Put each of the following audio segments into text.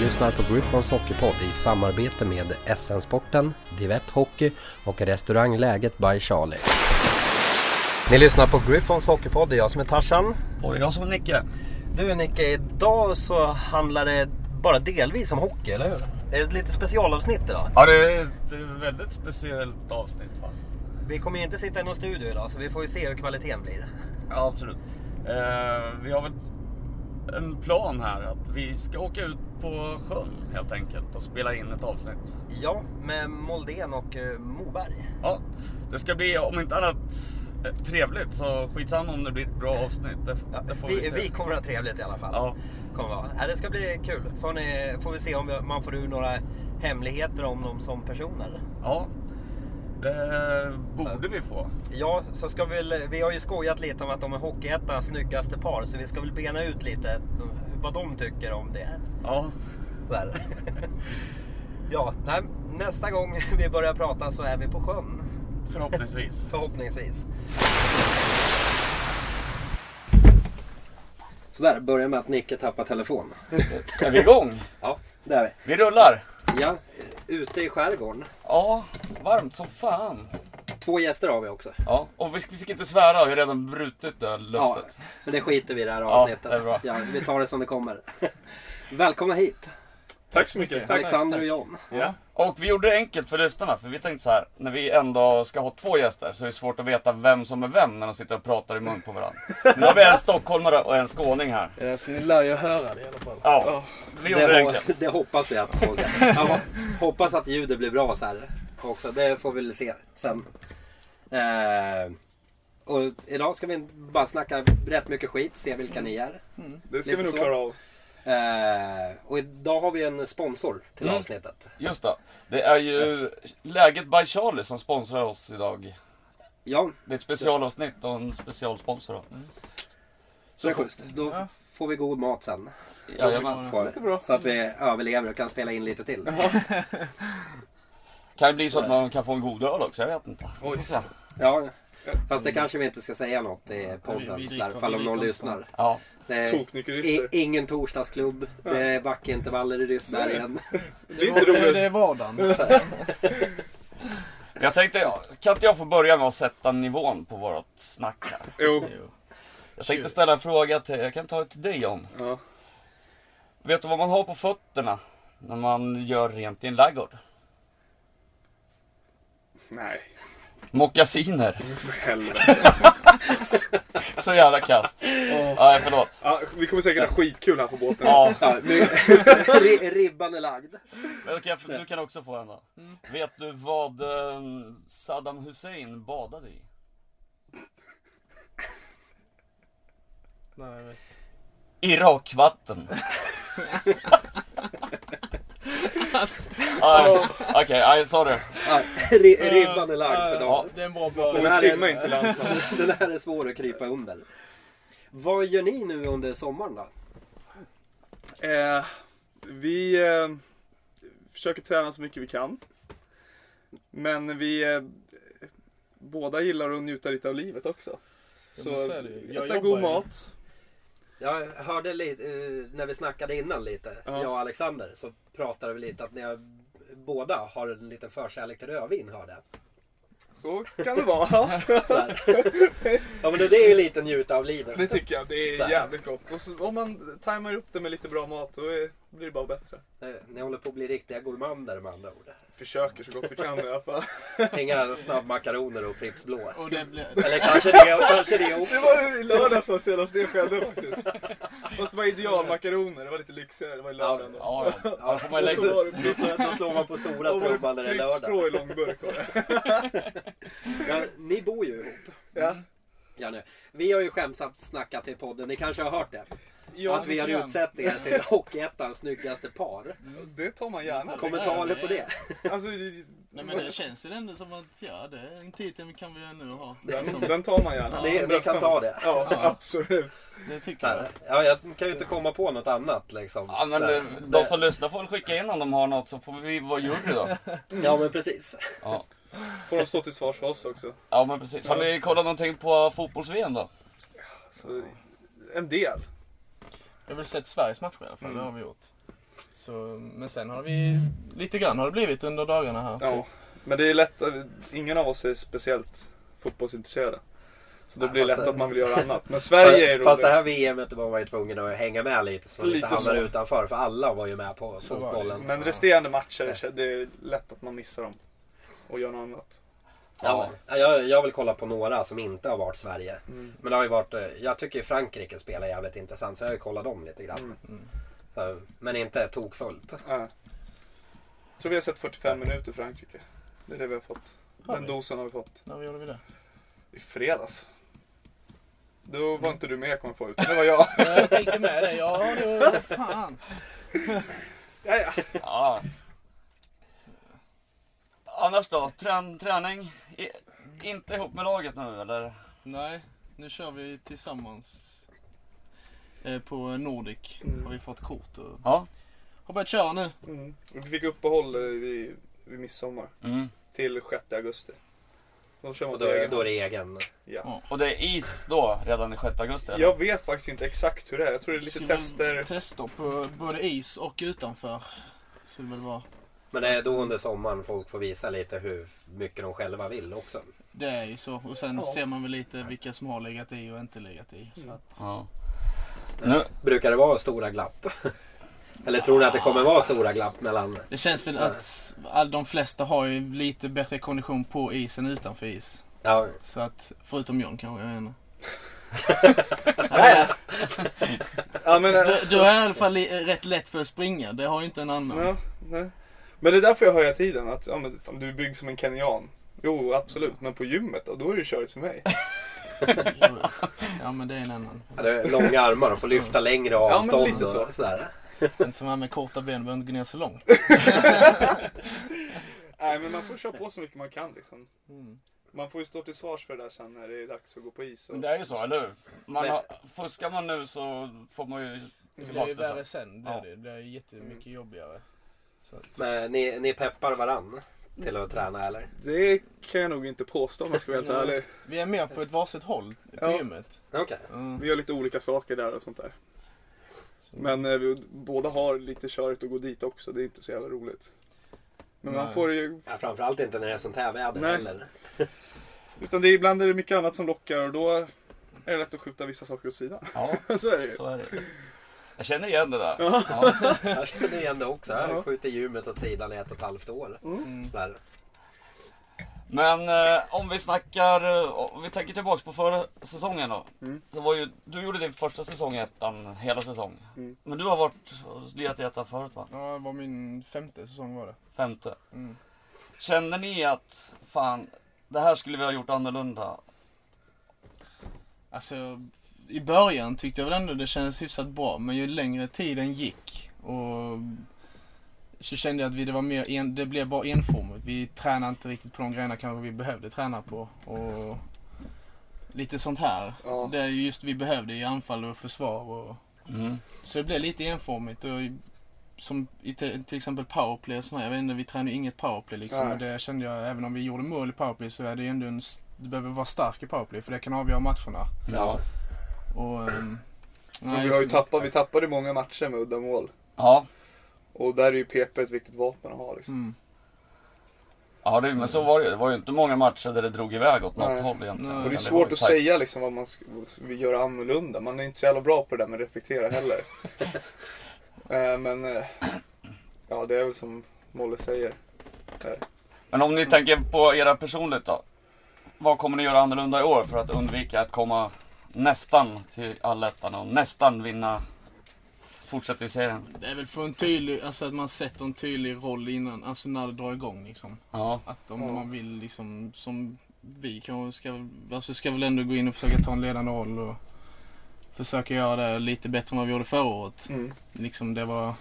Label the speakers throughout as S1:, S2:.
S1: lyssnar på Griffons Hockeypodd i samarbete med SN-sporten, Divett Hockey och Restaurang Läget by Charlie. Ni lyssnar på Griffons Hockeypodd, det är jag som är Tarzan.
S2: Och det är jag som är Nicke.
S1: Du Nicke, idag så handlar det bara delvis om hockey, eller hur? Det är ett lite specialavsnitt idag.
S2: Ja, det är ett väldigt speciellt avsnitt va?
S1: Vi kommer ju inte sitta i någon studio idag så vi får ju se hur kvaliteten blir.
S2: Ja, absolut. Eh, vi har väl en plan här att vi ska åka ut på sjön helt enkelt och spela in ett avsnitt.
S1: Ja, med Moldén och eh, Moberg.
S2: Ja, det ska bli om inte annat eh, trevligt så skitsamma om det blir ett bra avsnitt. Det,
S1: Ja,
S2: det får vi,
S1: vi,
S2: se.
S1: vi kommer ha trevligt i alla fall.
S2: Ja.
S1: Kommer vara. Ja, det ska bli kul. Får, ni, får vi se om vi- man får ur några hemligheter om dem som personer.
S2: Ja, det borde vi få.
S1: Ja, så ska vi, väl- vi har ju skojat lite om att de är Hockeyettans snyggaste par, så vi ska väl bena ut lite vad de tycker om det.
S2: Ja,
S1: Där. ja, nej, nästa gång vi börjar prata så är vi på sjön,
S2: förhoppningsvis.
S1: förhoppningsvis. Sådär, börja med att Nicke tappar telefon.
S2: Är vi igång?
S1: Ja, det är vi.
S2: Vi rullar.
S1: Ja, ute i skärgården.
S2: Ja, varmt som fan.
S1: Två gäster har vi också.
S2: Ja, och vi fick inte svära, vi har redan brutit det här
S1: Ja,
S2: löftet.
S1: men det skiter vi i det här
S2: Ja,
S1: avsnittet.
S2: det är bra.
S1: Ja, vi tar det som det kommer. Välkomna hit,
S3: Tack så mycket.
S1: Alexander och John.
S3: Ja.
S2: Och vi gjorde det enkelt för lyssnarna, för vi tänkte så här, när vi ändå ska ha två gäster så är det svårt att veta vem som är vem när de sitter och pratar i mun på varandra. Nu har vi en stockholmare och en skåning här.
S3: Ja, så ni lär ju höra det i alla fall.
S2: Ja, vi gjorde det
S1: Det, ho-
S2: enkelt.
S1: det hoppas vi att folk... Ja, hoppas att ljudet blir bra så här också. Det får vi väl se sen. Eh, och idag ska vi bara snacka rätt mycket skit, se vilka ni är.
S3: Det ska
S1: Lite
S3: vi nog
S1: så.
S3: klara av.
S1: Eh, och idag har vi en sponsor till avsnittet.
S2: Just det. Det är ju Läget by Charlie som sponsrar oss idag.
S1: Ja,
S2: Det är ett specialavsnitt och en specialsponsor. då.
S1: så det är schysst. Då f- får vi god mat sen.
S2: Jajamän.
S1: Får vi.
S3: bra.
S1: Så att vi överlever och kan spela in lite till.
S2: Kan ju bli så att man kan få en god öl också, jag vet inte. Vi får se.
S1: Ja,
S3: Mm.
S1: fast det kanske vi inte ska säga något i podden.
S4: vi- vi
S1: där, fall om
S4: vi-
S1: någon
S4: vi-
S1: lyssnar.
S2: Ja.
S1: Det är i,
S3: Toknykterister.
S1: ingen torsdagsklubb. Det är backintervaller i Ryssbergen.
S3: Det är
S4: Det
S3: inte
S4: är, det
S3: roligt.
S4: är vardagen.
S2: Jag tänkte, kan inte jag få börja med att sätta nivån på vårt snack här?
S3: Jo.
S2: Jag tänkte ställa en fråga till, jag kan ta det till dig John.
S3: Ja.
S2: Vet du vad man har på fötterna när man gör rent i en ladugård?
S3: Nej,
S2: Mockasiner.
S3: för helvete.
S2: Så jävla kast. Nej, förlåt.
S3: Ja, vi kommer säkert ha skitkul här på båten.
S2: Ja,
S1: Ja, men, ri- ribban är lagd.
S2: men du, kan, du kan också få en då. Vet du vad eh, Saddam Hussein badade i?
S4: Nej, jag vet.
S2: Irakvatten. Nej, Okej, nej, sorry.
S1: Ja, ri, ribban är lagd för
S2: Ja.
S1: dagen.
S4: Det är en bra plan.
S1: Den här
S3: Men simma
S1: är,
S3: inte landslaget.
S1: den här är svår att krypa under. Vad gör ni nu under sommaren då?
S3: Eh, vi eh, försöker träna så mycket vi kan. Men vi eh, båda gillar att njuta lite av livet också.
S4: Ja,
S3: Så
S4: men så är det ju. Jag
S3: äta
S4: jobbar
S3: god
S4: ju.
S3: mat.
S1: Jag hörde lite, eh, när vi snackade innan lite,
S3: Ja.
S1: jag och Alexander, så pratade vi lite att ni har, båda har en liten förkärlek till rödvin hörde jag.
S3: Så kan det vara.
S1: Där. Ja men det är ju lite njuta av
S3: Det
S1: livet.
S3: tycker jag. Det
S1: Så här.
S3: är jävligt gott. Och så, om man tajmar upp det med lite bra mat då är, blir det bara bättre.
S1: Ni- Ni håller på att bli riktiga gourmander med andra ord.
S3: Försöker så gott vi kan i alla fall.
S1: Inga snabbmakaroner och Pripps blå.
S4: Och det blir...
S1: Eller kanske det, kanske det
S3: Det
S1: också.
S3: var i lördags som senast det skedde faktiskt. Fast det var idealmakaroner, det var lite lyxigare. Det var i lördagen då.
S2: Ja, ja.
S1: Ja,
S2: Får man
S1: då
S2: lägga-
S1: slår- då slår- Då slår man på stora
S3: Och var
S1: trumman när det är
S3: tryckt
S1: lördag.
S3: strå i långburk var det.
S1: Ja, ni bor ju ihop.
S3: Ja.
S1: Ja, nu. Vi har ju skämtsamt snackat i podden, ni kanske har hört det.
S3: Ja,
S1: att vi har
S4: lite grann.
S1: utsett er till Hockeyettans snyggaste par.
S3: det tar man gärna.
S1: Kommentarer på det?
S3: Alltså,
S4: Nej men det känns ju ändå som att, ja det är en titel kan vi ändå ha.
S3: den, den tar man gärna.
S1: Ni, ni
S3: Bröstarna.
S1: kan ta det.
S3: Ja, absolut.
S4: Det tycker jag.
S1: Där. Ja, jag kan ju inte komma på något annat liksom.
S2: Ja, men
S1: Där.
S2: eh, de som lyssnar får väl skicka in om de har något så får vi vara jury då.
S1: Ja, men precis.
S2: Ja,
S3: Får de stå till svars för oss också.
S2: ja men precis. Har ni kollat någonting på fotbolls-VM då?
S3: Så, en del.
S4: Jag har väl sett Sveriges matcher i alla fall, det har vi gjort.
S5: Så, men sen har vi, lite grann har det blivit under dagarna här.
S3: Ja, men det är lätt. att- Ingen av oss är speciellt fotbollsintresserade. Så då
S1: Nej,
S3: blir det
S1: fast
S3: lätt
S1: det-
S3: att man vill göra annat. Men Sverige är roligt.
S1: Fast det här VMet var man ju tvungen att hänga med lite så man inte
S3: Lite
S1: hamnar
S3: så.
S1: utanför. För alla var ju med på
S5: Så var det.
S1: fotbollen.
S3: Men resterande matcher, det är lätt att man missar dem. Och gör något annat.
S1: Ja, men jag, jag vill kolla på några som inte har varit Sverige.
S3: Mm.
S1: Men det har ju varit, eh, jag tycker ju Frankrike spelar jävligt intressant så jag har ju kollat dem lite grann.
S3: Mm.
S1: Så, men inte tokfullt.
S3: Ja. Jag tror vi har sett 45 minuter Frankrike. Det är det vi har fått.
S5: Har
S3: Den
S5: vi?
S3: dosen har vi fått.
S5: När gjorde vi det?
S3: I fredags. Då var inte du med kom jag på, utan det var jag.
S5: Jag tänkte med det. Ja, det var...
S4: Fan.
S3: Ja, ja.
S2: Ja. Annars då? Trän, träning? I, inte ihop med laget nu eller?
S4: Nej, nu kör vi tillsammans. Eh, På Nordic
S3: Mm.
S4: har vi fått kort och
S2: Ja.
S4: har börjat köra nu.
S3: Mm. Vi fick uppehåll eh, vid, vid midsommar.
S2: Mm.
S3: Till 6 augusti. Då kör man
S1: Och
S3: på
S1: då, är-
S3: egen
S1: då är
S3: hand.
S1: det egen.
S3: ja.
S2: Och det är is då redan i 6 augusti? eller?
S3: Jag vet faktiskt inte exakt hur det är. Jag tror det är lite
S4: Skulle
S3: tester.
S4: väl Tester på både is och utanför. Skulle väl vara.
S1: Men det är då under sommaren folk får visa lite hur mycket de själva vill också.
S4: Det är ju så. Och sen
S3: Ja.
S4: ser man väl lite vilka som har legat i och inte legat i. Så
S3: Mm.
S4: att,
S2: Ja. Nu,
S1: Brukar det vara stora glapp? Eller tror ni att det kommer vara stora glapp mellan?
S4: det känns väl att all, de flesta har ju lite bättre kondition på is än utanför is.
S1: Ja,
S4: Så att, förutom John kanske, jag vet inte.
S3: Ja, men, eh,
S4: Du, du har i alla fall li- rätt lätt för att springa, det har ju inte en annan.
S3: Ja, nej. Men det är därför jag höjer tiden. Att ja, men, fan, du är byggd som en kenyan. Jo, absolut. Men på gymmet då, då är det körigt för mig.
S4: Ja men det är en annan.
S1: det är långa armar och får lyfta längre
S3: men
S1: avstånd.
S3: lite så.
S1: Och sådär.
S4: Den som är med korta ben behöver inte gå ner så långt.
S3: Nej, men man får köra på så mycket man kan liksom.
S4: Mm.
S3: Man får ju stå till svars för det där sen när det är dags att gå på is. Och...
S2: men det är ju så, eller hur? Man
S1: Men-
S2: har, fuskar man nu så får man ju
S5: Det blir
S2: tillbaka
S5: ju
S2: det
S5: värre
S2: sen.
S5: sen. Det, är det. det blir ju jättemycket jobbigare. Så att,
S1: Men ni, ni peppar varann till att träna eller?
S3: Det kan jag nog inte påstå om jag ska vara helt ärlig.
S4: Vi är med på ett varsitt håll på
S3: Ja.
S4: gymmet.
S1: Okej.
S4: Mm.
S3: Vi gör lite olika saker där och sånt där. Men eh, vi, båda har lite körigt att gå dit också. Det är inte så jävla roligt. Men man
S4: Nej.
S3: får ju...
S1: Ja, framförallt inte när det är sånt här väder
S3: Nej.
S1: heller.
S3: Utan det är, ibland är det mycket annat som lockar och då är det lätt att skjuta vissa saker åt sidan.
S2: Ja,
S3: Så är det ju.
S2: så är det. Jag känner igen det där.
S3: Ja.
S2: Ja.
S1: Jag känner igen det också. Jag har
S3: Ja.
S1: skjutit gymmet åt sidan i ett och ett halvt år.
S4: Mm.
S1: Sådär.
S2: Men eh, om vi snackar, eh, om vi tänker tillbaks på förra säsongen då.
S3: Mm.
S2: Så var ju, du gjorde din första säsong i ettan, hela säsong.
S3: Mm.
S2: Men du har varit och lirat i ettan förut va?
S5: ja, det var min femte säsong var det.
S2: Femte.
S5: Mm.
S2: Känner ni att, fan, det här skulle vi ha gjort annorlunda?
S4: Alltså, i början tyckte jag väl ändå det kändes hyfsat bra. Men ju längre tiden gick och så kände jag att vi, det, var mer en, det blev bara enformigt. Vi tränade inte riktigt på de grejerna kanske vi behövde träna på. Och lite sånt här.
S3: Ja.
S4: Det är ju just vi behövde i anfall och försvar. Och, Så det blev lite enformigt. Och som i te, till exempel powerplay och sådär. Jag vet inte, vi tränade ju inget powerplay liksom.
S3: Nej.
S4: Och det kände jag, även om vi gjorde mål i powerplay så är det ju ändå en... s- Du behöver vara stark i powerplay för det kan avgöra matcherna.
S1: Ja.
S4: Och... ehm,
S3: Men
S4: nej,
S3: vi, har ju
S4: så-
S3: tappat, vi tappade många matcher med udda mål.
S2: Ja.
S3: Och där är ju PP ett viktigt vapen att ha. Liksom.
S4: Mm,
S2: Ja, det, men så var det ju. Det var ju inte många matcher där det drog iväg åt något
S3: Nej.
S2: håll egentligen.
S4: Nej.
S3: Och det är
S2: Utan Mm. var
S3: svårt
S2: ju
S3: att
S2: tajt.
S3: säga liksom vad man ska vill göra annorlunda. Man är inte så jävla bra på det där med att reflektera heller. Eh, Men eh, ja, det är väl som Molle säger. Här.
S2: Men om ni tänker på era personligt då. Vad kommer ni göra annorlunda i år för att undvika att komma nästan till allettan och nästan vinna fortsättningsserien?
S4: det är väl för en tydlig, alltså att man sätter en tydlig roll innan, alltså när det drar igång liksom.
S2: Ja.
S4: Att om
S3: Ja.
S4: man vill liksom, som vi kanske ska, alltså ska väl ändå gå in och försöka ta en ledande roll och försöka göra det lite bättre än vad vi gjorde förra året.
S3: Mm.
S4: Liksom det var...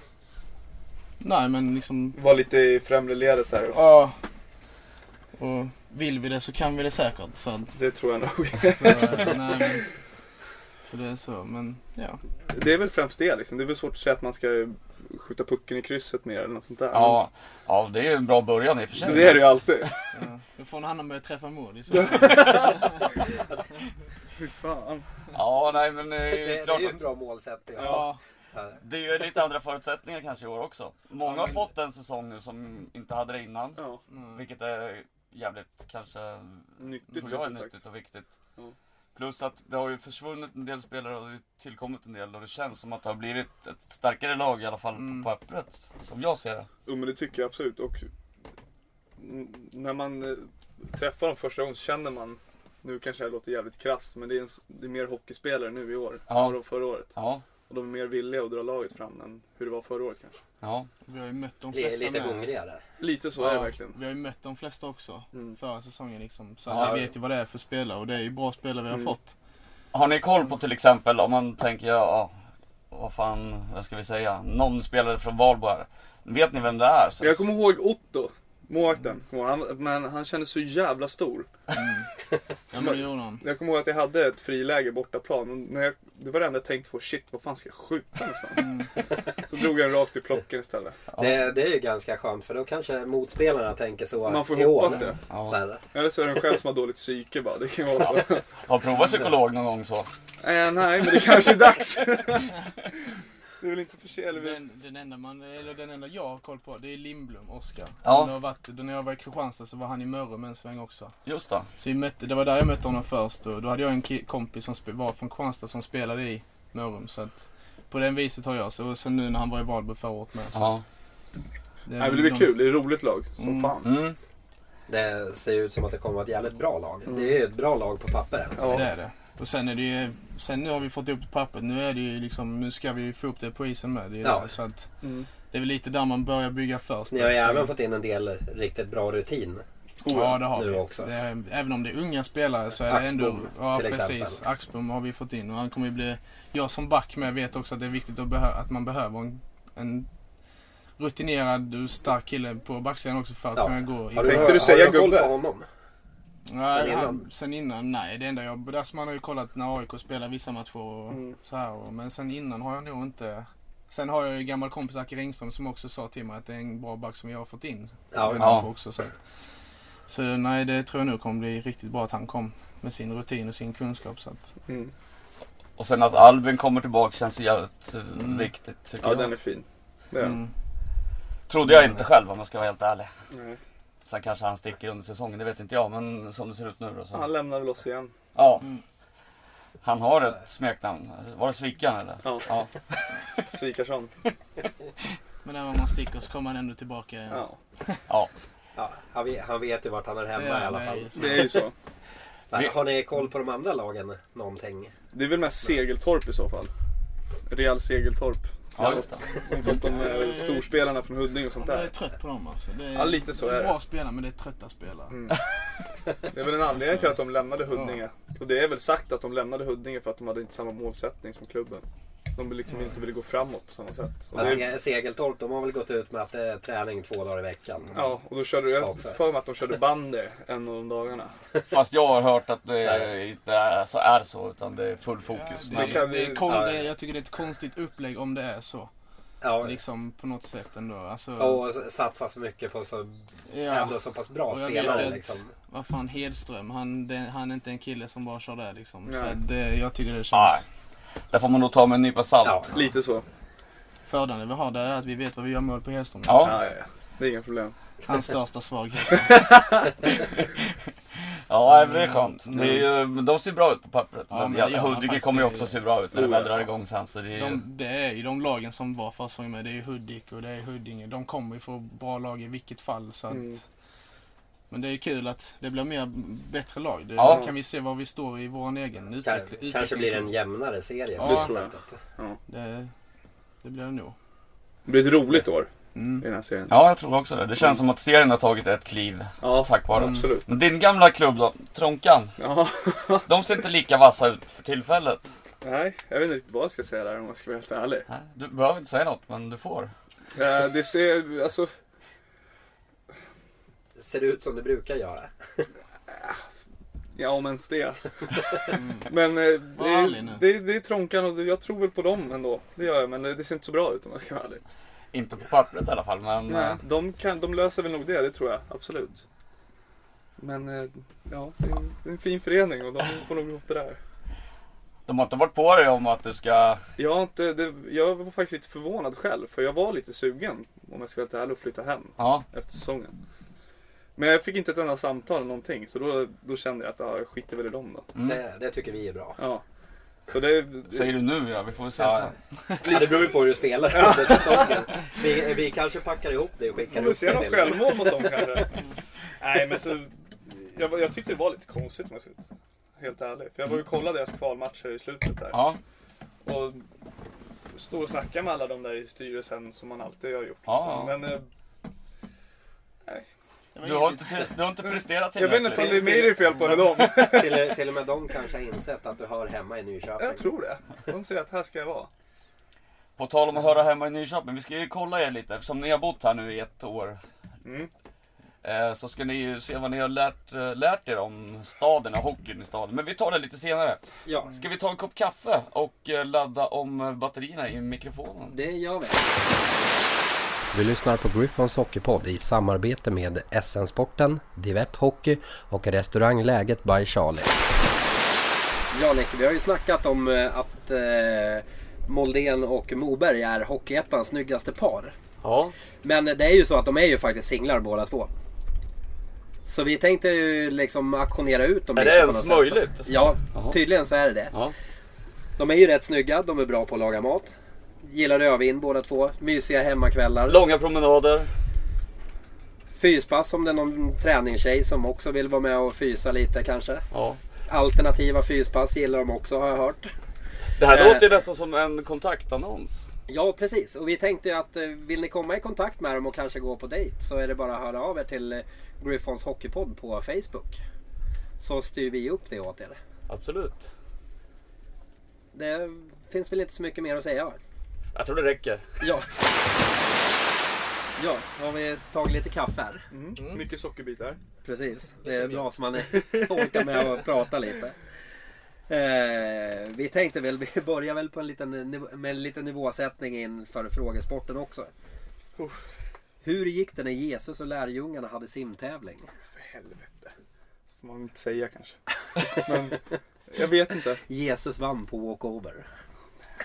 S4: Nej men liksom,
S3: Var lite i främre ledet där.
S4: ja. Och vill vi det så kan vi det säkert. Så att,
S3: Det tror jag nog.
S4: eh, nej, men, så det är så, men ja.
S3: Det är väl främst det liksom. Det är väl svårt att säga att man ska skjuta pucken i krysset mer eller något sånt där.
S2: Ja, ja, det är ju en bra början i och för
S3: Men
S2: sig.
S3: Det är det ju alltid.
S4: Ja, Då får han börja träffa mål i så
S3: Hur fan.
S2: Ja, nej men det
S1: Det,
S2: är
S1: det är
S2: klart
S1: ju en
S2: eh, att...
S1: bra målsättning.
S4: Ja,
S2: Det är ju lite andra förutsättningar kanske i år också. Många har fått en säsong nu som inte hade det innan.
S3: Ja,
S2: Vilket är jävligt kanske,
S3: nyttigt
S2: tror jag är
S3: rent ut
S2: nyttigt och viktigt.
S3: Ja.
S2: Plus att det har ju försvunnit en del spelare och det har tillkommit en del och det känns som att det har blivit ett starkare lag i alla fall
S4: Mm.
S2: på pappret. Som jag ser det.
S3: Jo men det tycker jag absolut och n- när man eh, träffar dem första gången så känner man, nu kanske det låter jävligt krasst men det är, en, s- det är mer hockeyspelare nu i år
S2: Ja.
S3: än vad förra året.
S2: Ja,
S3: Och de är mer villiga att dra laget fram än hur det var förra året kanske.
S2: ja.
S4: Vi har ju mött de
S1: Li-
S4: flesta
S1: Lite
S4: med.
S1: hungrigare.
S3: Lite så är det
S4: Ja,
S3: verkligen.
S4: vi har ju mött de flesta också
S3: Mm.
S4: förra säsongen liksom. Så
S2: Ja.
S4: ja. vi vet ju vad det är för spelare och det är ju bra spelare vi har
S3: Mm.
S4: fått.
S2: Har ni koll på till exempel om man tänker, ja, vad fan, vad ska vi säga, någon spelare från Valbo här. Vet ni vem det är?
S3: Men Jag kommer ihåg Otto, målvakten. Kommer ihåg, han- Men han kändes så jävla stor.
S4: Ja men det gjorde de.
S3: Jag kommer ihåg att jag hade ett friläge bortaplan. Och när jag, det var det enda jag tänkte på, shit vad fan ska jag skjuta någonstans? Så drog jag den rakt i plocken istället.
S1: Det, det är ju ganska skönt för då kanske motspelarna tänker så
S3: Man får
S1: i år.
S3: hoppas det.
S1: Så
S2: Ja.
S1: här,
S3: Eller så är det en själv som har dåligt psyke bara. Det kan ju vara så.
S2: Har provat psykolog någon gång så?
S3: Eh, nej, men det kanske är dags. det är väl inte för sent.
S4: Den, den, enda man, eller den enda jag har koll på det är Lindblom, Oskar.
S2: Ja.
S4: Han har varit, då när jag var i Kristianstad så var han i Mörrum en sväng också.
S2: Just det.
S4: Så vi mötte, det var där jag mötte honom först och då hade jag en ki- kompis som spe, var från Kristianstad som spelade i Mörrum. Så att på den viset har jag. Så, och sen nu när han var i Valbo förra året med. Så
S2: Ja.
S4: det,
S3: Nej, men det blir
S4: de-
S3: kul. Det är ett roligt lag. Som
S4: Mm.
S3: fan.
S2: Mm.
S1: Det ser ju ut som att det kommer vara ett jävligt bra lag. Det är ju ett bra lag på papper.
S4: Det
S3: Ja.
S4: är det. Och sen är det ju, sen nu har vi fått upp det på pappret. Nu är det ju liksom, nu ska vi ju få upp det på isen med. Det är ju
S1: Ja.
S4: det. Så att
S3: Mm.
S4: det är väl lite där man börjar bygga först.
S1: Så ni har ju
S4: Så-
S1: även fått in en del riktigt bra rutin.
S4: Ja det har
S1: nu
S4: vi.
S1: också.
S4: Det är, även om det är unga spelare så är det ändå...
S1: Axbom,
S4: Ja
S1: till exempel.
S4: precis. Axbom har vi fått in och han kommer ju bli... Jag som back med vet också att det är viktigt att, behö- att man behöver en, en rutinerad och stark kille på backsidan också för att
S1: Ja.
S4: kunna gå. i-
S1: Har
S3: Tänkte
S1: har,
S3: du säga
S1: har koll
S3: gubbe?
S1: på honom?
S4: Nej,
S1: sen innan?
S4: han- sen innan? Nej, det enda jag... Där som man har ju kollat när AIK spelar vissa matcher och
S3: Mm.
S4: så här. Och, men sen innan har jag nog inte... Sen har jag ju gammal kompis Acke Ringström som också sa till mig att det är en bra back som jag har fått in.
S1: Ja,
S4: Men
S2: Ja.
S4: han får också, så. att- så nej, det tror jag nog kommer bli riktigt bra att han kom med sin rutin och sin kunskap. Så att,
S3: Mm.
S2: Och sen att Albin kommer tillbaka känns ju jävligt eh,
S4: Mm.
S2: viktigt tycker
S3: ja,
S2: jag.
S3: den är fin. Det är den.
S4: mm.
S2: Trodde jag inte själv om jag ska vara helt ärlig.
S3: Nej.
S2: Sen kanske han sticker under säsongen, det vet inte jag. Men som det ser ut nu då
S3: Han
S2: så.
S3: lämnar väl oss igen.
S2: Ja.
S4: Mm.
S2: Han har ett smeknamn. Var det Svikan eller?
S3: Ja.
S2: Ja.
S3: Svikarsson.
S4: Men även om man sticker så kommer han ändå tillbaka igen.
S3: Ja.
S1: Ja, han, vet, han vet ju vart han är hemma
S4: Ja,
S1: i alla
S4: det är ju
S1: fall.
S4: så.
S3: Det är ju så.
S1: Men
S2: Vi-
S1: Har ni koll på de andra lagen någonting?
S3: Det är väl mest Segeltorp i så fall. Real Segeltorp.
S2: Ja, just det.
S3: De har fått de eh, storspelarna från Huddinge och sånt
S4: Jag är
S3: där.
S4: trött på dem alltså. Det är,
S3: Ja, lite så
S4: det
S3: är det.
S4: bra spelare men det är trötta spelare.
S3: Mm. Det är väl en anledning till att de lämnade Huddinge. Och det är väl sagt att de lämnade Huddinge för att de hade inte samma målsättning som klubben. De liksom inte ville gå framåt på samma sätt. Och
S1: Alltså,
S3: det,
S1: Segeltorp, de har väl gått ut med att det är träning två dagar i veckan.
S3: ja, och då körde
S1: Ja,
S3: jag
S1: också.
S3: för mig att de körde bandy en av de dagarna.
S2: Fast jag har hört att det inte är så, är så utan det är full fokus.
S4: Ja,
S2: Men
S4: det,
S3: kan
S4: kan
S3: vi-
S4: det är kon,
S1: Ja, ja.
S4: det, är- jag tycker det är ett konstigt upplägg om det är så.
S1: Ja,
S4: Liksom på något sätt ändå. Alltså,
S1: och s- satsa så mycket på så,
S4: ja,
S1: ändå så pass bra
S4: Och jag vet
S1: spelare.
S4: att-
S1: Liksom.
S4: vad fan Hedström, han, det, han är inte en kille som bara kör där liksom. Så
S3: Nej.
S4: att det, jag tycker det känns...
S2: Nej. Där får man nog ta med en nypa
S1: Ja.
S2: salt.
S3: Lite så.
S4: Fördelen vi har där är att vi vet vad vi gör mål på Hedström.
S2: Ja.
S3: Ja, ja, ja. Det är inga problem.
S4: Hans största svaghet.
S2: ja, det är skönt. Det är, ju- de ser bra ut på pappret.
S4: Ja,
S2: men
S4: men det gör man
S2: Huddinge
S4: faktiskt.
S2: kommer ju
S4: Det är-
S2: också se bra ut när det väl drar igång sen. Så det är, ju-
S4: De, det är ju de lagen som var förra säsongen med. Det är ju Hudik och det är Huddinge. De kommer ju få bra lag i vilket fall. Så att,
S3: Mm.
S4: Men det är kul att det blir mer bättre lag. Det,
S2: Ja.
S4: Då kan vi se var vi står i vår egen
S1: Kan,
S4: utveckling.
S1: kanske
S4: utveckling.
S1: blir det en jämnare serie.
S4: Ja,
S1: på
S4: det
S1: det
S3: tror jag.
S1: sättet.
S4: Det, det blir det nog.
S3: Det blir ett roligt år i
S4: Mm.
S3: den här serien.
S2: ja, jag tror också det. Det känns som att serien har tagit ett kliv
S3: Ja,
S2: tack vare
S4: Mm.
S2: dem.
S3: absolut.
S2: Men Din gamla klubb då, Tronkan.
S3: Ja,
S2: De ser inte lika vassa ut för tillfället.
S3: nej, jag vet inte riktigt vad jag ska säga där om jag ska vara helt ärlig.
S2: Nej, Du behöver inte säga något, men du får.
S3: Eh, Det ser, alltså,
S1: Ser ut som det brukar göra.
S3: Ja, om ens det. Men eh, det,
S4: Mm. Var ärlig nu.
S3: är, det, är, det är Tronkan och jag tror väl på dem ändå. Det gör jag, men det, det ser inte så bra ut om jag ska vara ärlig.
S2: Inte på pappret i alla fall, men... eh,
S3: De, kan, de löser väl nog det, det tror jag. Absolut. Men eh, ja, det är en, det är en fin förening och de får nog ihop det där.
S2: De har inte varit på dig om att du ska...
S3: Jag, har inte, det, jag var faktiskt lite förvånad själv för jag var lite sugen om jag ska vara helt ärlig och flytta hem
S2: Ja,
S3: efter säsongen. Men jag fick inte ett enda samtal eller någonting så då, då kände jag att ja, jag skiter väl i dem då.
S1: Det, det tycker vi är bra.
S3: Ja. Så det,
S2: säger du nu ja. Vi får väl se
S1: Ja.
S2: sen.
S1: Ja, det beror ju på hur du spelar under säsongen. Vi, vi kanske packar ihop det och skickar
S3: Kan du
S1: upp
S3: se
S1: en
S3: något
S1: del.
S3: självmål mot dem kanske? Nej men så, jag, jag tyckte det var lite konstigt om jag ska vara helt ärlig. För jag var ju och kollade deras kvalmatcher i slutet där.
S2: Ja,
S3: Och stå och snacka med alla de där i styrelsen som man alltid har gjort.
S2: Ja.
S3: Men eh,
S2: du har inte, till- du har inte presterat
S3: jag vet inte om
S2: tillräckligt.
S3: det är mig det är fel på eller dem.
S1: Till, till och med de kanske har insett att du hör hemma i Nyköping.
S3: Jag tror det. De säger att här ska jag vara.
S2: På tal om att höra hemma i Nyköping, vi ska ju kolla er lite eftersom ni har bott här nu i ett år.
S3: Mm.
S2: Eh, Så ska ni ju se vad ni har lärt, eh, lärt er om staden och hockeyn i staden. Men vi tar det lite senare.
S1: Ja,
S2: Ska vi ta en kopp kaffe och eh, ladda om eh, batterierna i mikrofonen?
S1: det gör vi. Du lyssnar på Griffons Hockeypodd i samarbete med SN-sporten, Divett Hockey och restaurangläget by Charlie. Ja Nick, vi har ju snackat om eh, att eh, Moldén och Moberg är Hockeyettans snyggaste par.
S2: Ja.
S1: Men det är ju så att de är ju faktiskt singlar båda två. Så vi tänkte ju liksom auktionera ut dem
S2: Är
S1: lite
S2: det
S1: på
S2: ens
S1: något sätt.
S2: möjligt?
S1: Ja,
S2: Jaha.
S1: tydligen så är det det.
S2: Ja.
S1: De är ju rätt snygga, de är bra på att laga mat. Gillar rödvin båda två, mysiga hemmakvällar.
S2: Långa promenader.
S1: Fyspass om det är någon träningstjej som också vill vara med och fysa lite kanske.
S2: Ja.
S1: Alternativa fyspass gillar de också har jag hört.
S2: Det här
S1: Eh.
S2: låter ju nästan som en kontaktannons.
S1: Ja precis, och vi tänkte ju att eh, vill ni komma i kontakt med dem och kanske gå på dejt så är det bara att höra av er till eh, Griffons Hockeypodd på Facebook. Så styr vi upp det åt er.
S2: Absolut.
S1: Det finns väl inte så mycket mer att säga. va?
S2: Jag tror det räcker.
S1: Ja. Ja, då har vi tagit lite kaffe här.
S3: Mm. Mycket sockerbitar.
S1: Precis, det är bra så man är- orkar med att prata lite. Eh, vi tänkte väl, vi börjar väl på en liten, niv- med en liten nivåsättning inför frågesporten också. Hur gick det när Jesus och lärjungarna hade simtävling?
S3: För helvete. Får man inte säga kanske. Men jag vet inte.
S1: Jesus vann på walkover.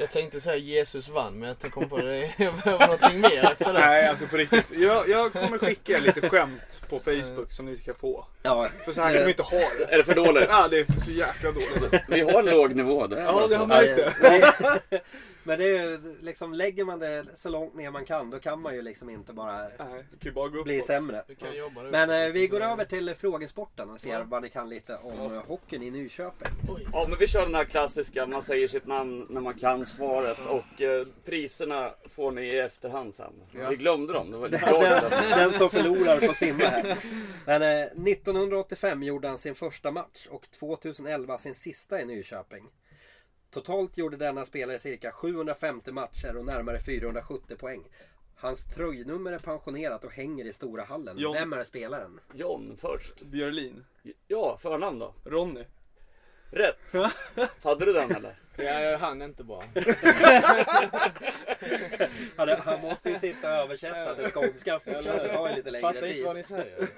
S5: Jag tänkte säga Jesus vann men jag kom på det. Jag behöver någonting mer efter det.
S3: Nej alltså på riktigt. Mm. Jag, jag kommer skicka er lite skämt på Facebook som ni ska få.
S1: Ja,
S3: För så här kan vi inte ha det.
S2: Är det för dåligt?
S3: Ja det är så jäkla dåligt.
S2: Vi har en låg nivå. Det är
S3: Ja
S2: bara
S3: det
S2: så.
S3: har märkt det.
S1: det- Men det är ju liksom, lägger man det så långt ner man kan då kan man ju liksom inte bara
S3: Nej, det kan ju bara gå
S1: bli
S3: uppåt.
S1: sämre.
S5: Du kan jobba där
S1: Men
S5: uppe,
S1: eh, vi
S5: precis
S1: går
S5: som-
S1: över till frågesporten och ser vad ni kan lite om ja. hockeyn i Nyköping.
S2: Ja, men vi kör den här klassiska, man säger sitt namn när man kan svaret och eh, priserna får ni i efterhand sen. Vi glömde dem, det var lite dåligt.
S1: Den som förlorar får simma här. Men eh, 1985 gjorde han sin första match och 2011 sin sista i Nyköping. Totalt gjorde denna spelare cirka 750 matcher och närmare 470 poäng. Hans tröjnummer är pensionerat och hänger i stora hallen.
S3: John.
S1: Vem är spelaren?
S2: John först.
S3: Björlin.
S2: Ja, förnamn då.
S3: Ronny.
S2: Rätt. Hade du den eller?
S5: Ja, jag hann inte bara.
S1: Han, han måste ju sitta och översätta till skånska. Det tar ju lite längre
S5: Fattar inte
S1: tid.
S5: vad ni säger.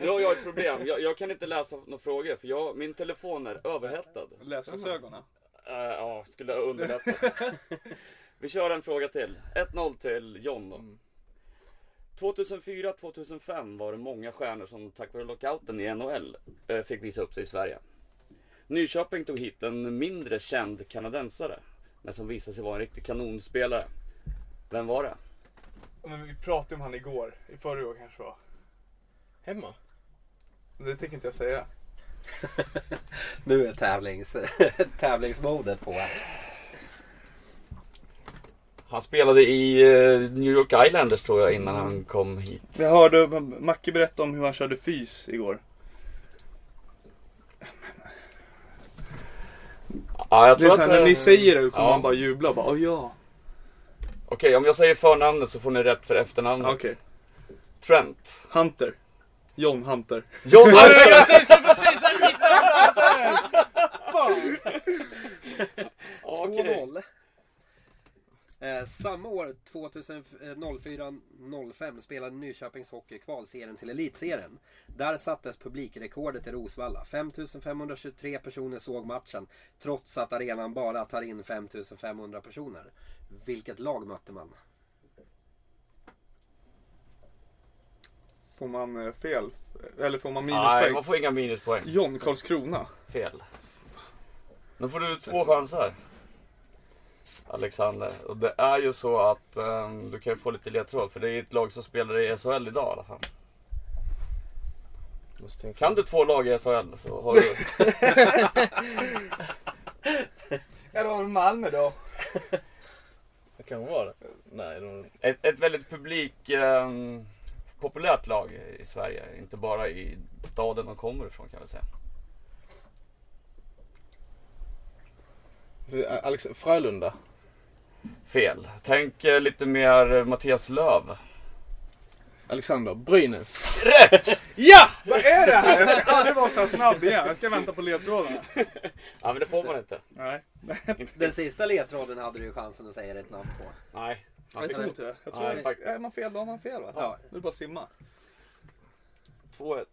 S2: Nu har jag ett problem, jag, jag kan inte läsa några frågor för jag, min telefon är överhettad.
S3: Läsglasögonen.
S2: Eh, Ja, skulle underlätta. Vi kör en fråga till. 1-0 till John då. 2004-2005 var det många stjärnor som tack vare lockouten i NHL eh, fick visa upp sig i Sverige. Nyköping tog hit en mindre känd kanadensare, men som visade sig vara en riktig kanonspelare. Vem var det?
S3: Men vi pratade om han igår. I förrgår kanske var.
S5: Hemma?
S3: Men Det tänker inte jag säga.
S1: Nu är tävlings, tävlingsmodet på. här.
S2: Han spelade i eh, New York Islanders tror jag innan han kom hit.
S3: Jag hörde Macke berätta om hur han körde fys igår.
S2: Ja, jag
S3: Det är
S2: tror
S3: så här,
S2: att...
S3: när ni
S2: eh,
S3: säger det kommer
S2: ja.
S3: man bara jubla och bara åh ja.
S2: Okej, om jag säger förnamnet så får ni rätt för efternamnet.
S3: Okej.
S2: Trent.
S3: Hunter. John Hunter.
S2: John Hunter! Okej.
S1: 2-0. Eh, samma år, eh, 2004-05, spelade Nyköpings Hockey kvalserien till Elitserien. Där sattes publikrekordet i Rosvalla. 5523 personer såg matchen trots att arenan bara tar in 5500 personer. Vilket lag mötte man?
S3: Får man eh, fel? Eller får man
S2: Nej,
S3: minuspoäng?
S2: man får inga minuspoäng.
S3: John Karlskrona.
S2: Fel. Nu får du två chanser. Alexander. Och det är ju så att ehm, du kan ju få lite ledtråd för det är ett lag som spelar i SHL idag i alla fall.
S5: Måste tänka.
S2: Kan du två lag i SHL så har du...
S3: Ja, det var väl Malmö då.
S5: Det kanske var det. Nej, de...
S2: ett, ett väldigt publik ehm, populärt lag i Sverige. Inte bara i staden de kommer ifrån kan jag väl säga.
S5: För, eh, Alex... Frölunda.
S2: Fel. Tänk eh, lite mer eh, Mattias Löv.
S5: Alexander. Brynäs.
S2: Rätt!
S5: Ja!
S3: Vad är det här? Jag ska aldrig vara så här snabb igen. Jag ska vänta på ledtrådarna.
S2: Ja men det får man inte.
S3: Nej.
S1: Den sista ledtråden hade du ju chansen att säga rätt namn på.
S2: Nej. Man
S3: Jag
S2: fick
S3: tror inte det. Jag tror
S2: Nej,
S3: det.
S2: faktiskt.
S3: Är man fel då har man fel va?
S1: Ja.
S3: Nu är det bara att simma.
S2: 2-1.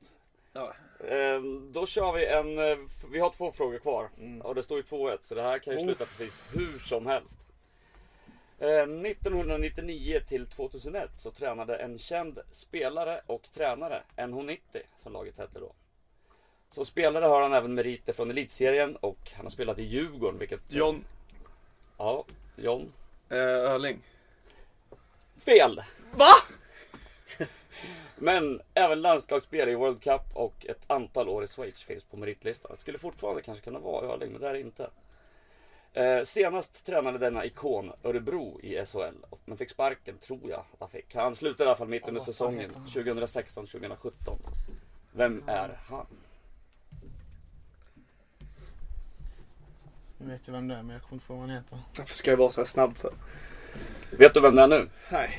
S1: Ja.
S2: Ehm, Då kör vi en... eh, f- Vi har två frågor kvar. Och det står ju 2-1 så det här kan ju
S3: Oh.
S2: sluta precis hur som helst. Ehm, 1999 till 2001 så tränade en känd spelare och tränare NH90 som laget hette då. Som spelare har han även meriter från Elitserien och han har spelat i Djurgården vilket...
S3: John
S2: Ja, John.
S3: eh, Öling.
S2: Fel!
S3: Va?
S2: Men även landslagsspel i World Cup och ett antal år i Schweiz finns på meritlistan. Det skulle fortfarande kanske kunna vara Öhrling, men det är det inte. Eh, senast tränade denna ikon Örebro i SHL, men fick sparken tror jag att han fick. Han slutade i alla fall mitt under säsongen 2016-2017. Vem är han?
S4: Nu vet jag vem det är men jag kommer inte på vad han heter.
S3: Varför ska jag vara så här snabb för?
S2: Vet du vem det är nu?
S3: Nej.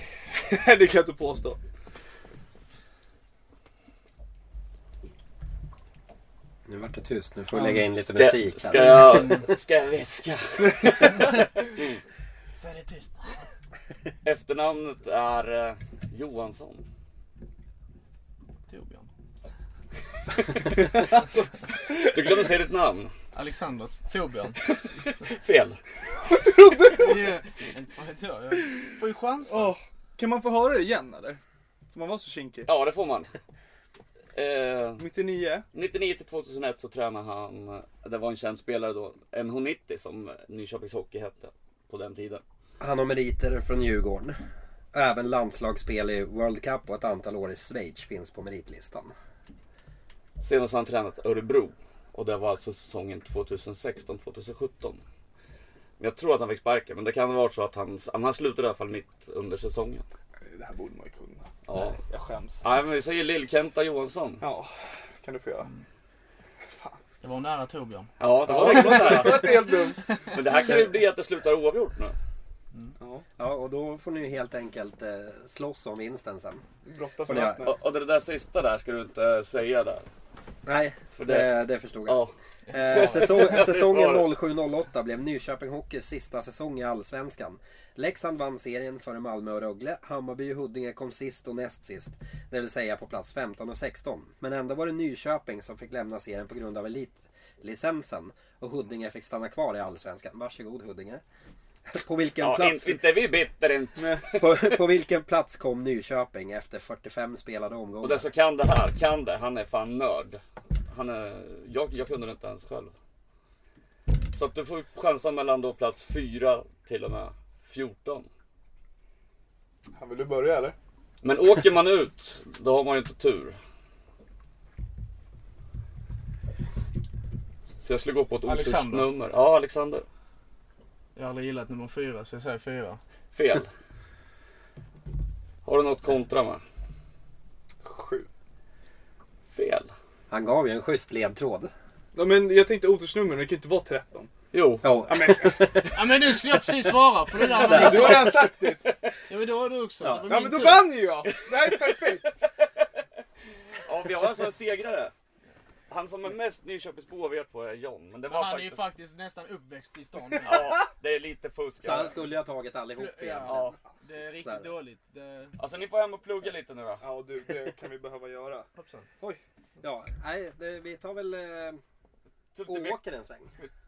S3: det kan jag inte påstå.
S1: Nu vart det tyst. Nu får vi lägga in lite
S2: Ska,
S1: musik.
S2: ska, jag, ska jag viska?
S4: Säg det tyst.
S2: Efternamnet är eh, Johansson.
S4: Torbjörn.
S2: Du glömde säga ditt namn.
S4: Alexander. Torbjörn.
S2: Fel.
S4: Ja, Inte fan vet jag. Jag får ju chansen.
S3: Åh, Kan man få höra det igen eller? Får man vara så kinkig?
S2: Ja, det får man. Eh,
S3: 99.
S2: 99 till 2001 så tränade han, det var en känd spelare då, NH90 som Nyköpings Hockey hette på den tiden.
S1: Han har meriter från Djurgården. Även landslagsspel i World Cup och ett antal år i Schweiz finns på meritlistan.
S2: Senast han tränat Örebro och det var alltså säsongen 2016-2017. Men Jag tror att han fick sparken, men det kan ha varit så att han, han slutade i alla fall mitt under säsongen.
S3: Det här borde man ju kunna.
S2: Ja.
S3: Jag skäms.
S2: Nej, men vi säger Lill-Kenta Johansson.
S3: Ja, kan du få göra. Fan.
S4: Det var nära Torbjörn.
S2: Ja, det var riktigt nära.
S3: Det är helt dumt.
S2: Men det här kan ju bli att det slutar oavgjort nu.
S3: Ja,
S1: Ja, och då får ni helt enkelt eh, slåss om vinsten sen.
S3: brottas
S1: Och det-
S3: allt nu.
S2: Och, och det där sista där ska du inte säga där.
S1: Nej,
S2: För det,
S1: det, det förstod jag.
S2: ja.
S1: Eh, säsong, säsongen
S2: Svaret.
S1: 07-08 blev Nyköping Hockeys sista säsong i Allsvenskan. Leksand vann serien före Malmö och Rögle. Hammarby och Huddinge kom sist och näst sist. Det vill säga på plats 15 och 16. Men ändå var det Nyköping som fick lämna serien på grund av elitlicensen. Och Huddinge fick stanna kvar i Allsvenskan. Varsågod Huddinge. På vilken,
S2: ja
S1: plats,
S2: inte, inte vi bitter inte.
S1: på, på vilken plats kom Nyköping efter 45 spelade omgångar?
S2: Och den som kan det här, kan det, han är fan nörd. Han är, jag, jag kunde det inte ens själv. Så att du får chansa mellan då plats 4 till och med 14.
S3: Ja, Vill du börja eller?
S2: Men åker man ut, då har man ju inte tur. Så jag skulle gå på ett
S4: Alexander.
S2: otursnummer. Ja, Alexander.
S4: Jag har aldrig gillat nummer fyra så jag säger fyra.
S2: Fel. Har du något kontra med?
S3: Sju.
S2: Fel.
S1: Han gav ju en schysst ledtråd.
S3: Ja, men jag tänkte otursnummer, det kan ju inte vara 13.
S2: Jo,
S1: Ja,
S4: Ja men nu skulle jag precis svara på det där.
S3: Du
S4: Magnus.
S3: har redan sagt det.
S4: Ja men det var du också. Det var
S3: Ja
S4: min
S3: men då
S4: tur.
S3: vann ju jag! Det här är perfekt.
S2: ja, vi har alltså en segrare. Han som är mest Nyköpingsbo av er två är John. Men det var
S6: Han är ju
S2: faktiskt...
S6: faktiskt nästan uppväxt i stan.
S2: Ja, det är lite fusk.
S1: Så han skulle ju ha tagit allihop
S6: Ja.
S1: egentligen.
S2: Ja.
S6: Det är
S1: Så här.
S6: riktigt dåligt. Det...
S2: Alltså ni får hem och plugga lite nu då.
S3: Ja du, det kan vi behöva göra.
S1: Ja, nej, det, vi tar väl eh,
S2: Ta lite,
S1: och
S2: mycket,
S1: åker en sväng.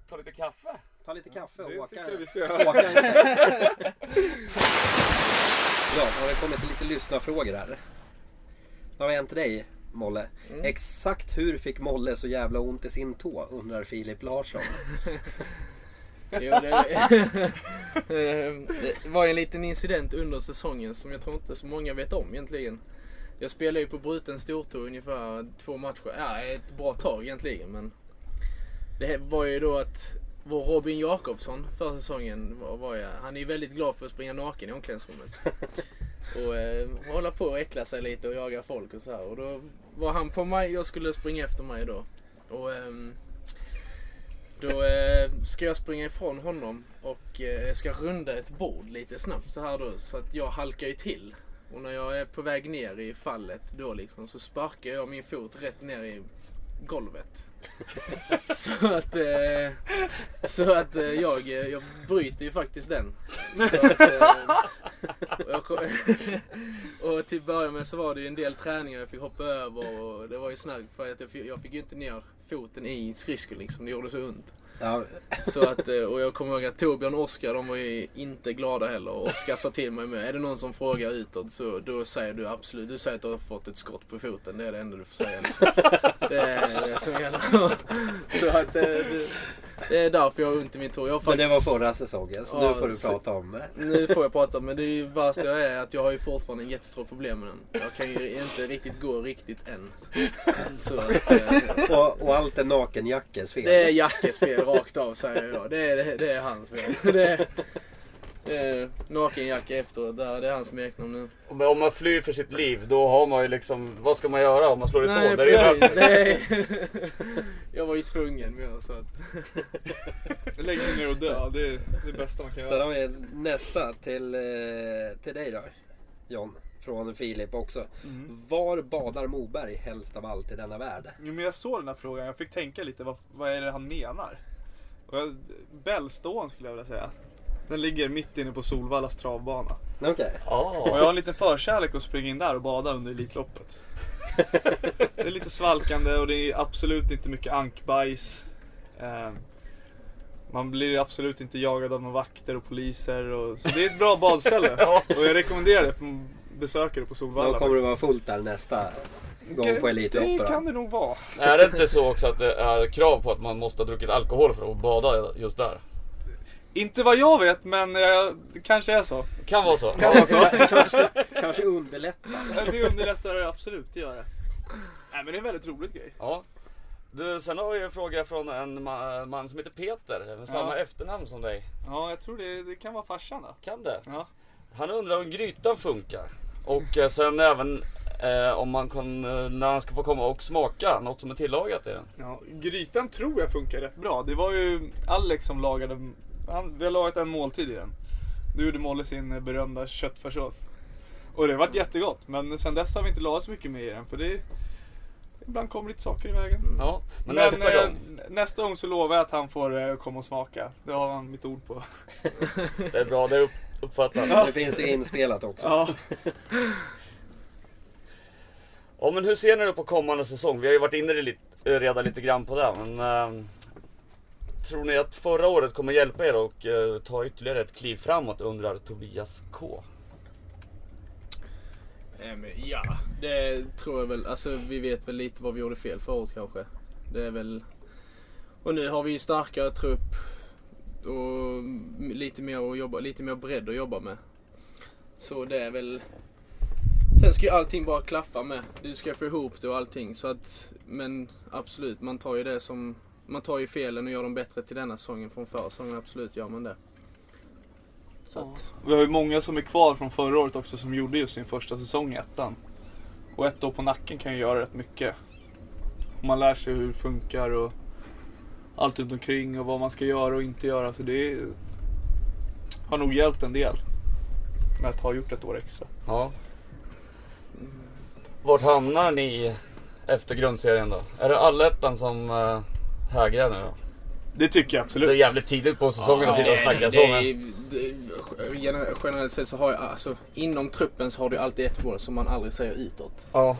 S2: ta lite kaffe.
S1: Ta lite kaffe och
S3: Det
S1: åka,
S3: tycker jag vi
S1: åka
S3: ska göra.
S1: en sväng. Ja, då har det kommit lite lyssnarfrågor här. Vad har hänt till dig, Molle?
S3: Mm.
S1: Exakt hur fick Molle så jävla ont i sin tå? Undrar Filip Larsson.
S4: Jo, det, det var ju en liten incident under säsongen som jag tror inte så många vet om egentligen. Jag spelade ju på bruten stortå ungefär två matcher, ja ett bra tag egentligen men. Det var ju då att vår Robin Jakobsson förra säsongen var, var jag, han är ju väldigt glad för att springa naken i omklädningsrummet. Och eh, hålla på och äckla sig lite och jaga folk och så här. Och då var han på mig, jag skulle springa efter mig då. Och ehm, då eh, ska jag springa ifrån honom och eh, ska runda ett bord lite snabbt så här då. Så att jag halkar ju till. Och när jag är på väg ner i fallet då liksom så sparkar jag min fot rätt ner i golvet. så att, eh, så att eh, jag, eh, jag bryter ju faktiskt den. Så att, eh, och, jag kom, och till början med så var det ju en del träningar jag fick hoppa över och det var ju snagg för att jag fick, jag fick ju inte ner foten i skridskon liksom. Det gjorde så ont.
S1: Ja,
S4: Så att, eh, och jag kommer ihåg att Torbjörn och Oskar de var ju inte glada heller. Och Oskar sa till mig med, är det någon som frågar utåt så då säger du absolut, du säger att du har fått ett skott på foten. Det är det enda du får säga. liksom. Det är det som gäller. Så att eh, det, det är därför jag har ont i min tå. Jag har
S1: men det
S4: faktiskt-
S1: var förra säsongen så nu
S4: Ja,
S1: får du
S4: så-
S1: prata om det.
S4: nu får jag prata men det är ju värsta jag är att jag har ju fortfarande en jättestor problem med den. Jag kan ju inte riktigt gå riktigt än. Så att, eh,
S1: Och, och allt är nakenjackes fel.
S4: det är Jackes fel rakt av säger jag. Det är, det, det är hans fel. Det är, eh, Naken-Jacke efteråt, där, det är hans smeknamn nu.
S2: Men om man flyr för sitt liv, då har man ju liksom... Vad ska man göra om man slår i tån? Det är ju-
S4: precis. Nej. Jag var ju tvungen med så att...
S3: Lägg dig ner och dö, det är det bästa man kan
S1: Sen
S3: göra.
S1: har vi nästa till, eh, till dig då John. Från Filip också.
S3: Mm.
S1: Var badar Moberg helst av allt i denna värld?
S3: Jo, men jag såg den här frågan, jag fick tänka lite vad, vad är det han menar? Och jag- Bällstån skulle jag vilja säga. Den ligger mitt inne på Solvallas travbana.
S1: Okej.
S3: Och
S2: Ja.
S3: jag har en liten förkärlek att springa in där och bada under Elitloppet. Det är lite svalkande och det är absolut inte mycket ankbajs. Eh, Man blir absolut inte jagad av några vakter och poliser. Och, så det är ett bra badställe.
S2: Ja.
S3: Och jag rekommenderar det för besökare på Solvalla.
S1: Då kommer det
S3: faktiskt.
S1: vara fullt där nästa gång på
S3: Det kan
S1: Elitloppen.
S3: det nog vara.
S2: Är det inte så också att det är krav på att man måste ha druckit alkohol för att bada just där?
S3: Inte vad jag vet men eh, det kanske är så.
S2: Kan vara så.
S1: Kanske underlättar.
S3: Det underlättar det absolut, det gör det. Nej men det är en väldigt rolig grej.
S2: Ja. Du, sen har jag en fråga från en ma- man som heter Peter, med samma efternamn som dig.
S3: Ja jag tror det, det kan vara farsan då.
S2: Kan det?
S3: Ja.
S2: Han undrar om grytan funkar. Och eh, sen även eh, om man kan, eh, när han ska få komma och smaka något som är tillagat i den.
S3: Ja, grytan tror jag funkar rätt bra. Det var ju Alex som lagade, han, vi har lagat en måltid i den. Nu gjorde Molle sin berömda köttfärssås. Och det vart jättegott men sen dess har vi inte lagat så mycket mer i den för det, ibland kommer lite saker i vägen.
S2: Ja, Mm. men,
S3: Men
S2: nästa
S3: eh,
S2: gång.
S3: nästa gång så lovar jag att han får eh, komma och smaka. Det har han mitt ord på.
S2: Det är bra, det är upp, uppfattat.
S1: Så det finns det inspelat också.
S3: Ja.
S2: Ja men hur ser ni då på kommande säsong? Vi har ju varit inne lite, redan lite grann på det men... ehm, tror ni att förra året kommer hjälpa er och eh, ta ytterligare ett kliv framåt undrar Tobias K.
S4: Eh, men Ja, det tror jag väl. Alltså vi vet väl lite vad vi gjorde fel förra året kanske. Det är väl... Och nu har vi ju starkare trupp och m- lite mer, att jobba, lite mer bredd att jobba med. Så det är väl... Sen ska ju allting bara klaffa med. Du ska få ihop det och allting. Så att, men absolut, man tar ju det som... Man tar ju felen och gör dem bättre till denna säsongen från förra säsongen. Absolut gör man det. Så att...
S3: Vi har ju många som är kvar från förra året också som gjorde just sin första säsong i ettan. Och ett år på nacken kan ju göra rätt mycket. Och man lär sig hur det funkar och allt runt omkring och vad man ska göra och inte göra. Så det är, har nog hjälpt en del med att ha gjort ett år extra.
S2: Ja. Vart hamnar ni efter grundserien då? Är det allettan som eh, hägrar nu då?
S7: Det tycker jag
S2: Det är
S7: absolut.
S2: jävligt tidigt på säsongen att sitta och snacka så men...
S4: Gener- Generellt sett så har jag, alltså inom truppen så har du alltid ett mål som man aldrig säger utåt.
S2: Ja.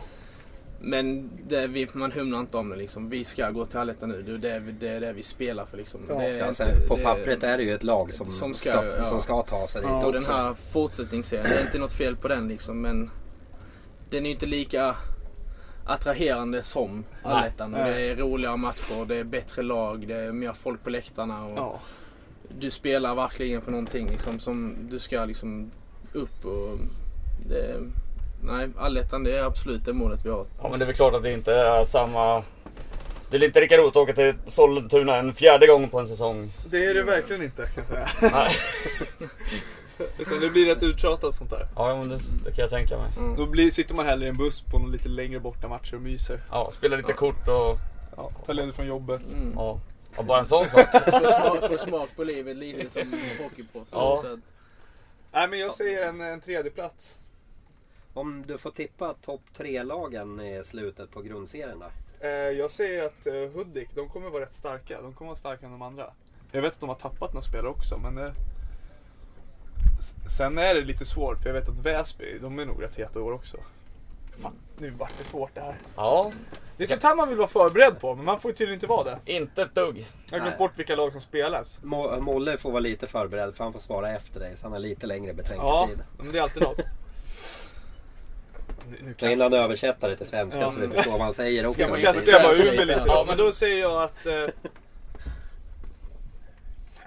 S4: Men det, vi, man humlar inte om det liksom. Vi ska gå till allettan nu. Det är det, vi- det är det vi spelar för liksom. det är
S1: Alltså,
S4: inte-
S1: på
S4: det-
S1: pappret är det ju ett lag som,
S4: Som ska-
S1: ska,
S4: ja.
S1: som ska ta sig dit
S7: Ja,
S4: Och
S1: också.
S4: den här fortsättningsserien, det är inte något fel på den liksom men den är inte lika attraherande som allettan. Och
S7: nej.
S4: Det är roligare matcher, det är bättre lag, det är mer folk på läktarna. Och
S7: Ja.
S4: Du spelar verkligen för någonting liksom, som du ska liksom upp och... Det, nej, allettan det är absolut det målet vi har.
S2: ja men det är väl klart att det inte är samma... Det är väl inte lika roligt att åka till Sollentuna en fjärde gång på en säsong.
S3: Det är det verkligen inte kan jag säga.
S2: Nej.
S3: Utan det blir rätt uttjatat sånt där.
S2: Ja men det, det kan jag tänka mig.
S3: Då blir, sitter man hellre i en buss på någon lite längre borta matcher och myser.
S2: Ja, spela lite kort och...
S3: Ja, tar ledigt från jobbet.
S4: Mm.
S2: Ja. ja bara en sån sak.
S4: Får, smak, får smak på livet lite som hockeyproffs.
S2: Ja.
S4: Så att-
S3: Nej men jag säger en, en tredje plats.
S1: Om du får tippa topp tre-lagen i slutet på grundserien där.
S3: Eh, Jag säger att eh, Hudik, de kommer vara rätt starka. De kommer vara starkare än de andra. Jag vet att de har tappat några spelare också men... eh, s- Sen är det lite svårt för jag vet att Väsby, de är nog rätt heta i år också. Fan, nu vart det svårt det här.
S2: Ja,
S3: Det är sånt här man vill vara förberedd på men man får ju tydligen inte vara det.
S2: inte ett dugg.
S3: Jag har glömt
S1: Nej.
S3: bort vilka lag som spelas.
S1: Mo- Molle får vara lite förberedd för han får svara efter dig så han har lite längre
S3: Ja,
S1: betänketid.
S3: men det är alltid något. Nu- nu
S1: Ja. Innan du översätter det till svenska
S3: Ja.
S1: så vi förstår vad han säger också.
S3: Ska man
S1: givetvis.
S3: kasta bara ur mig
S4: Translate,
S3: lite?
S4: ja.
S3: Ja, men då säger jag att... Eh,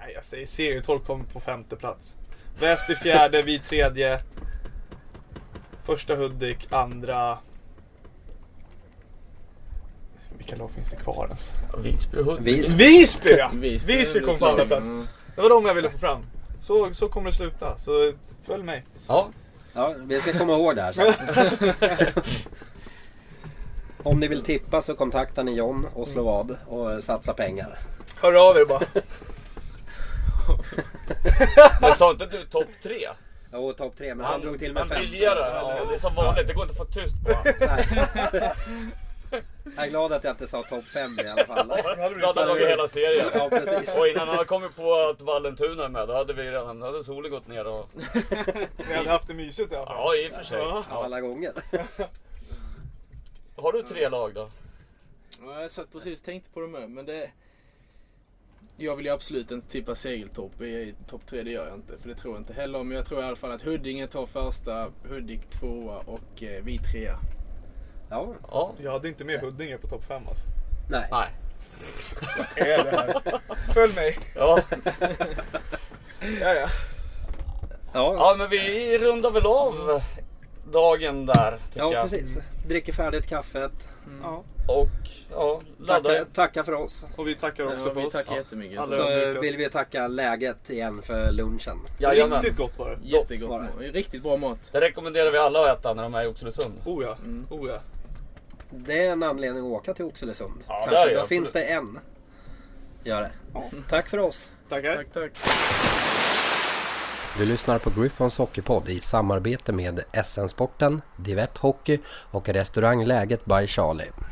S3: nej, jag säger serietork kommer på femte plats. Väsby fjärde, vi tredje. Första Hudik, andra... Vilka lag finns det kvar ens?
S2: Visby och Hudik.
S1: Vi-
S3: Visby ja!
S4: Visby är
S3: Visby kom på
S4: lite-
S3: andra plats.
S4: Mm.
S3: Det var de jag ville få fram. Så, så kommer det sluta, så följ mig.
S2: Ja,
S1: Ja, vi ska komma ihåg det här sen. Om ni vill tippa så kontaktar ni John och slå vad och satsa pengar.
S3: Hör av er bara.
S2: men sa inte du topp tre?
S1: Ja, Och topp tre, men han, drog till med
S2: Han
S1: fem.
S2: briljerar.
S1: så-
S2: Ja, det är som vanligt, det går inte att få tyst på honom.
S1: Nej. Jag är glad att jag inte sa topp fem i alla fall.
S2: Då hade han dragit hela serien.
S1: Ja, precis.
S2: Och innan han hade kommit på att Vallentuna är med, då hade vi redan, då hade solen gått ner och...
S3: Ni hade haft det mysigt i alla fall.
S2: Ja, i och för sig.
S3: Ja.
S1: Ja, Alla gånger.
S2: Har du tre lag då?
S4: Ja, jag satt precis och tänkte på det med. Men det... Jag vill ju absolut inte tippa Segeltorp i- i topp tre, det gör jag inte. För det tror jag inte heller. Men jag tror i alla fall att Huddinge tar första, Hudik tvåa och eh, vi trea.
S1: Ja,
S2: Ja.
S3: Jag hade inte med Huddinge på topp fem alltså.
S1: nej.
S2: Nej.
S3: Är det här? Följ mig.
S2: Ja.
S3: Ja, ja.
S1: Ja,
S2: ja, men vi rundar väl av dagen där, tycker
S1: ja
S2: jag.
S1: precis. Dricker färdigt kaffet.
S3: ja.
S2: Och, ja, laddar.
S1: Tackar, tackar för oss.
S3: Och vi tackar också
S4: Ja,
S3: för
S4: vi
S3: oss.
S4: tackar jättemycket.
S3: Alla-
S1: Så
S3: ödmjukast.
S1: vill vi tacka läget igen för lunchen.
S2: Jajamän.
S3: Riktigt gott var det.
S4: Jättegott
S1: var det.
S4: mat. Riktigt bra mat.
S2: Det rekommenderar vi alla att äta när de är i Oxelösund.
S3: Oh ja. Oh ja.
S1: Det är en anledning att åka till Oxelösund.
S2: Ja,
S1: Kanske.
S2: där är jag,
S1: Då finns det
S2: absolut.
S1: en. Gör det. Tack för oss.
S3: Tackar.
S4: Tack, tack.
S1: Du lyssnar på Griffons Hockeypodd i samarbete med SN-sporten, Divett Hockey och restaurang Läget by Charlie.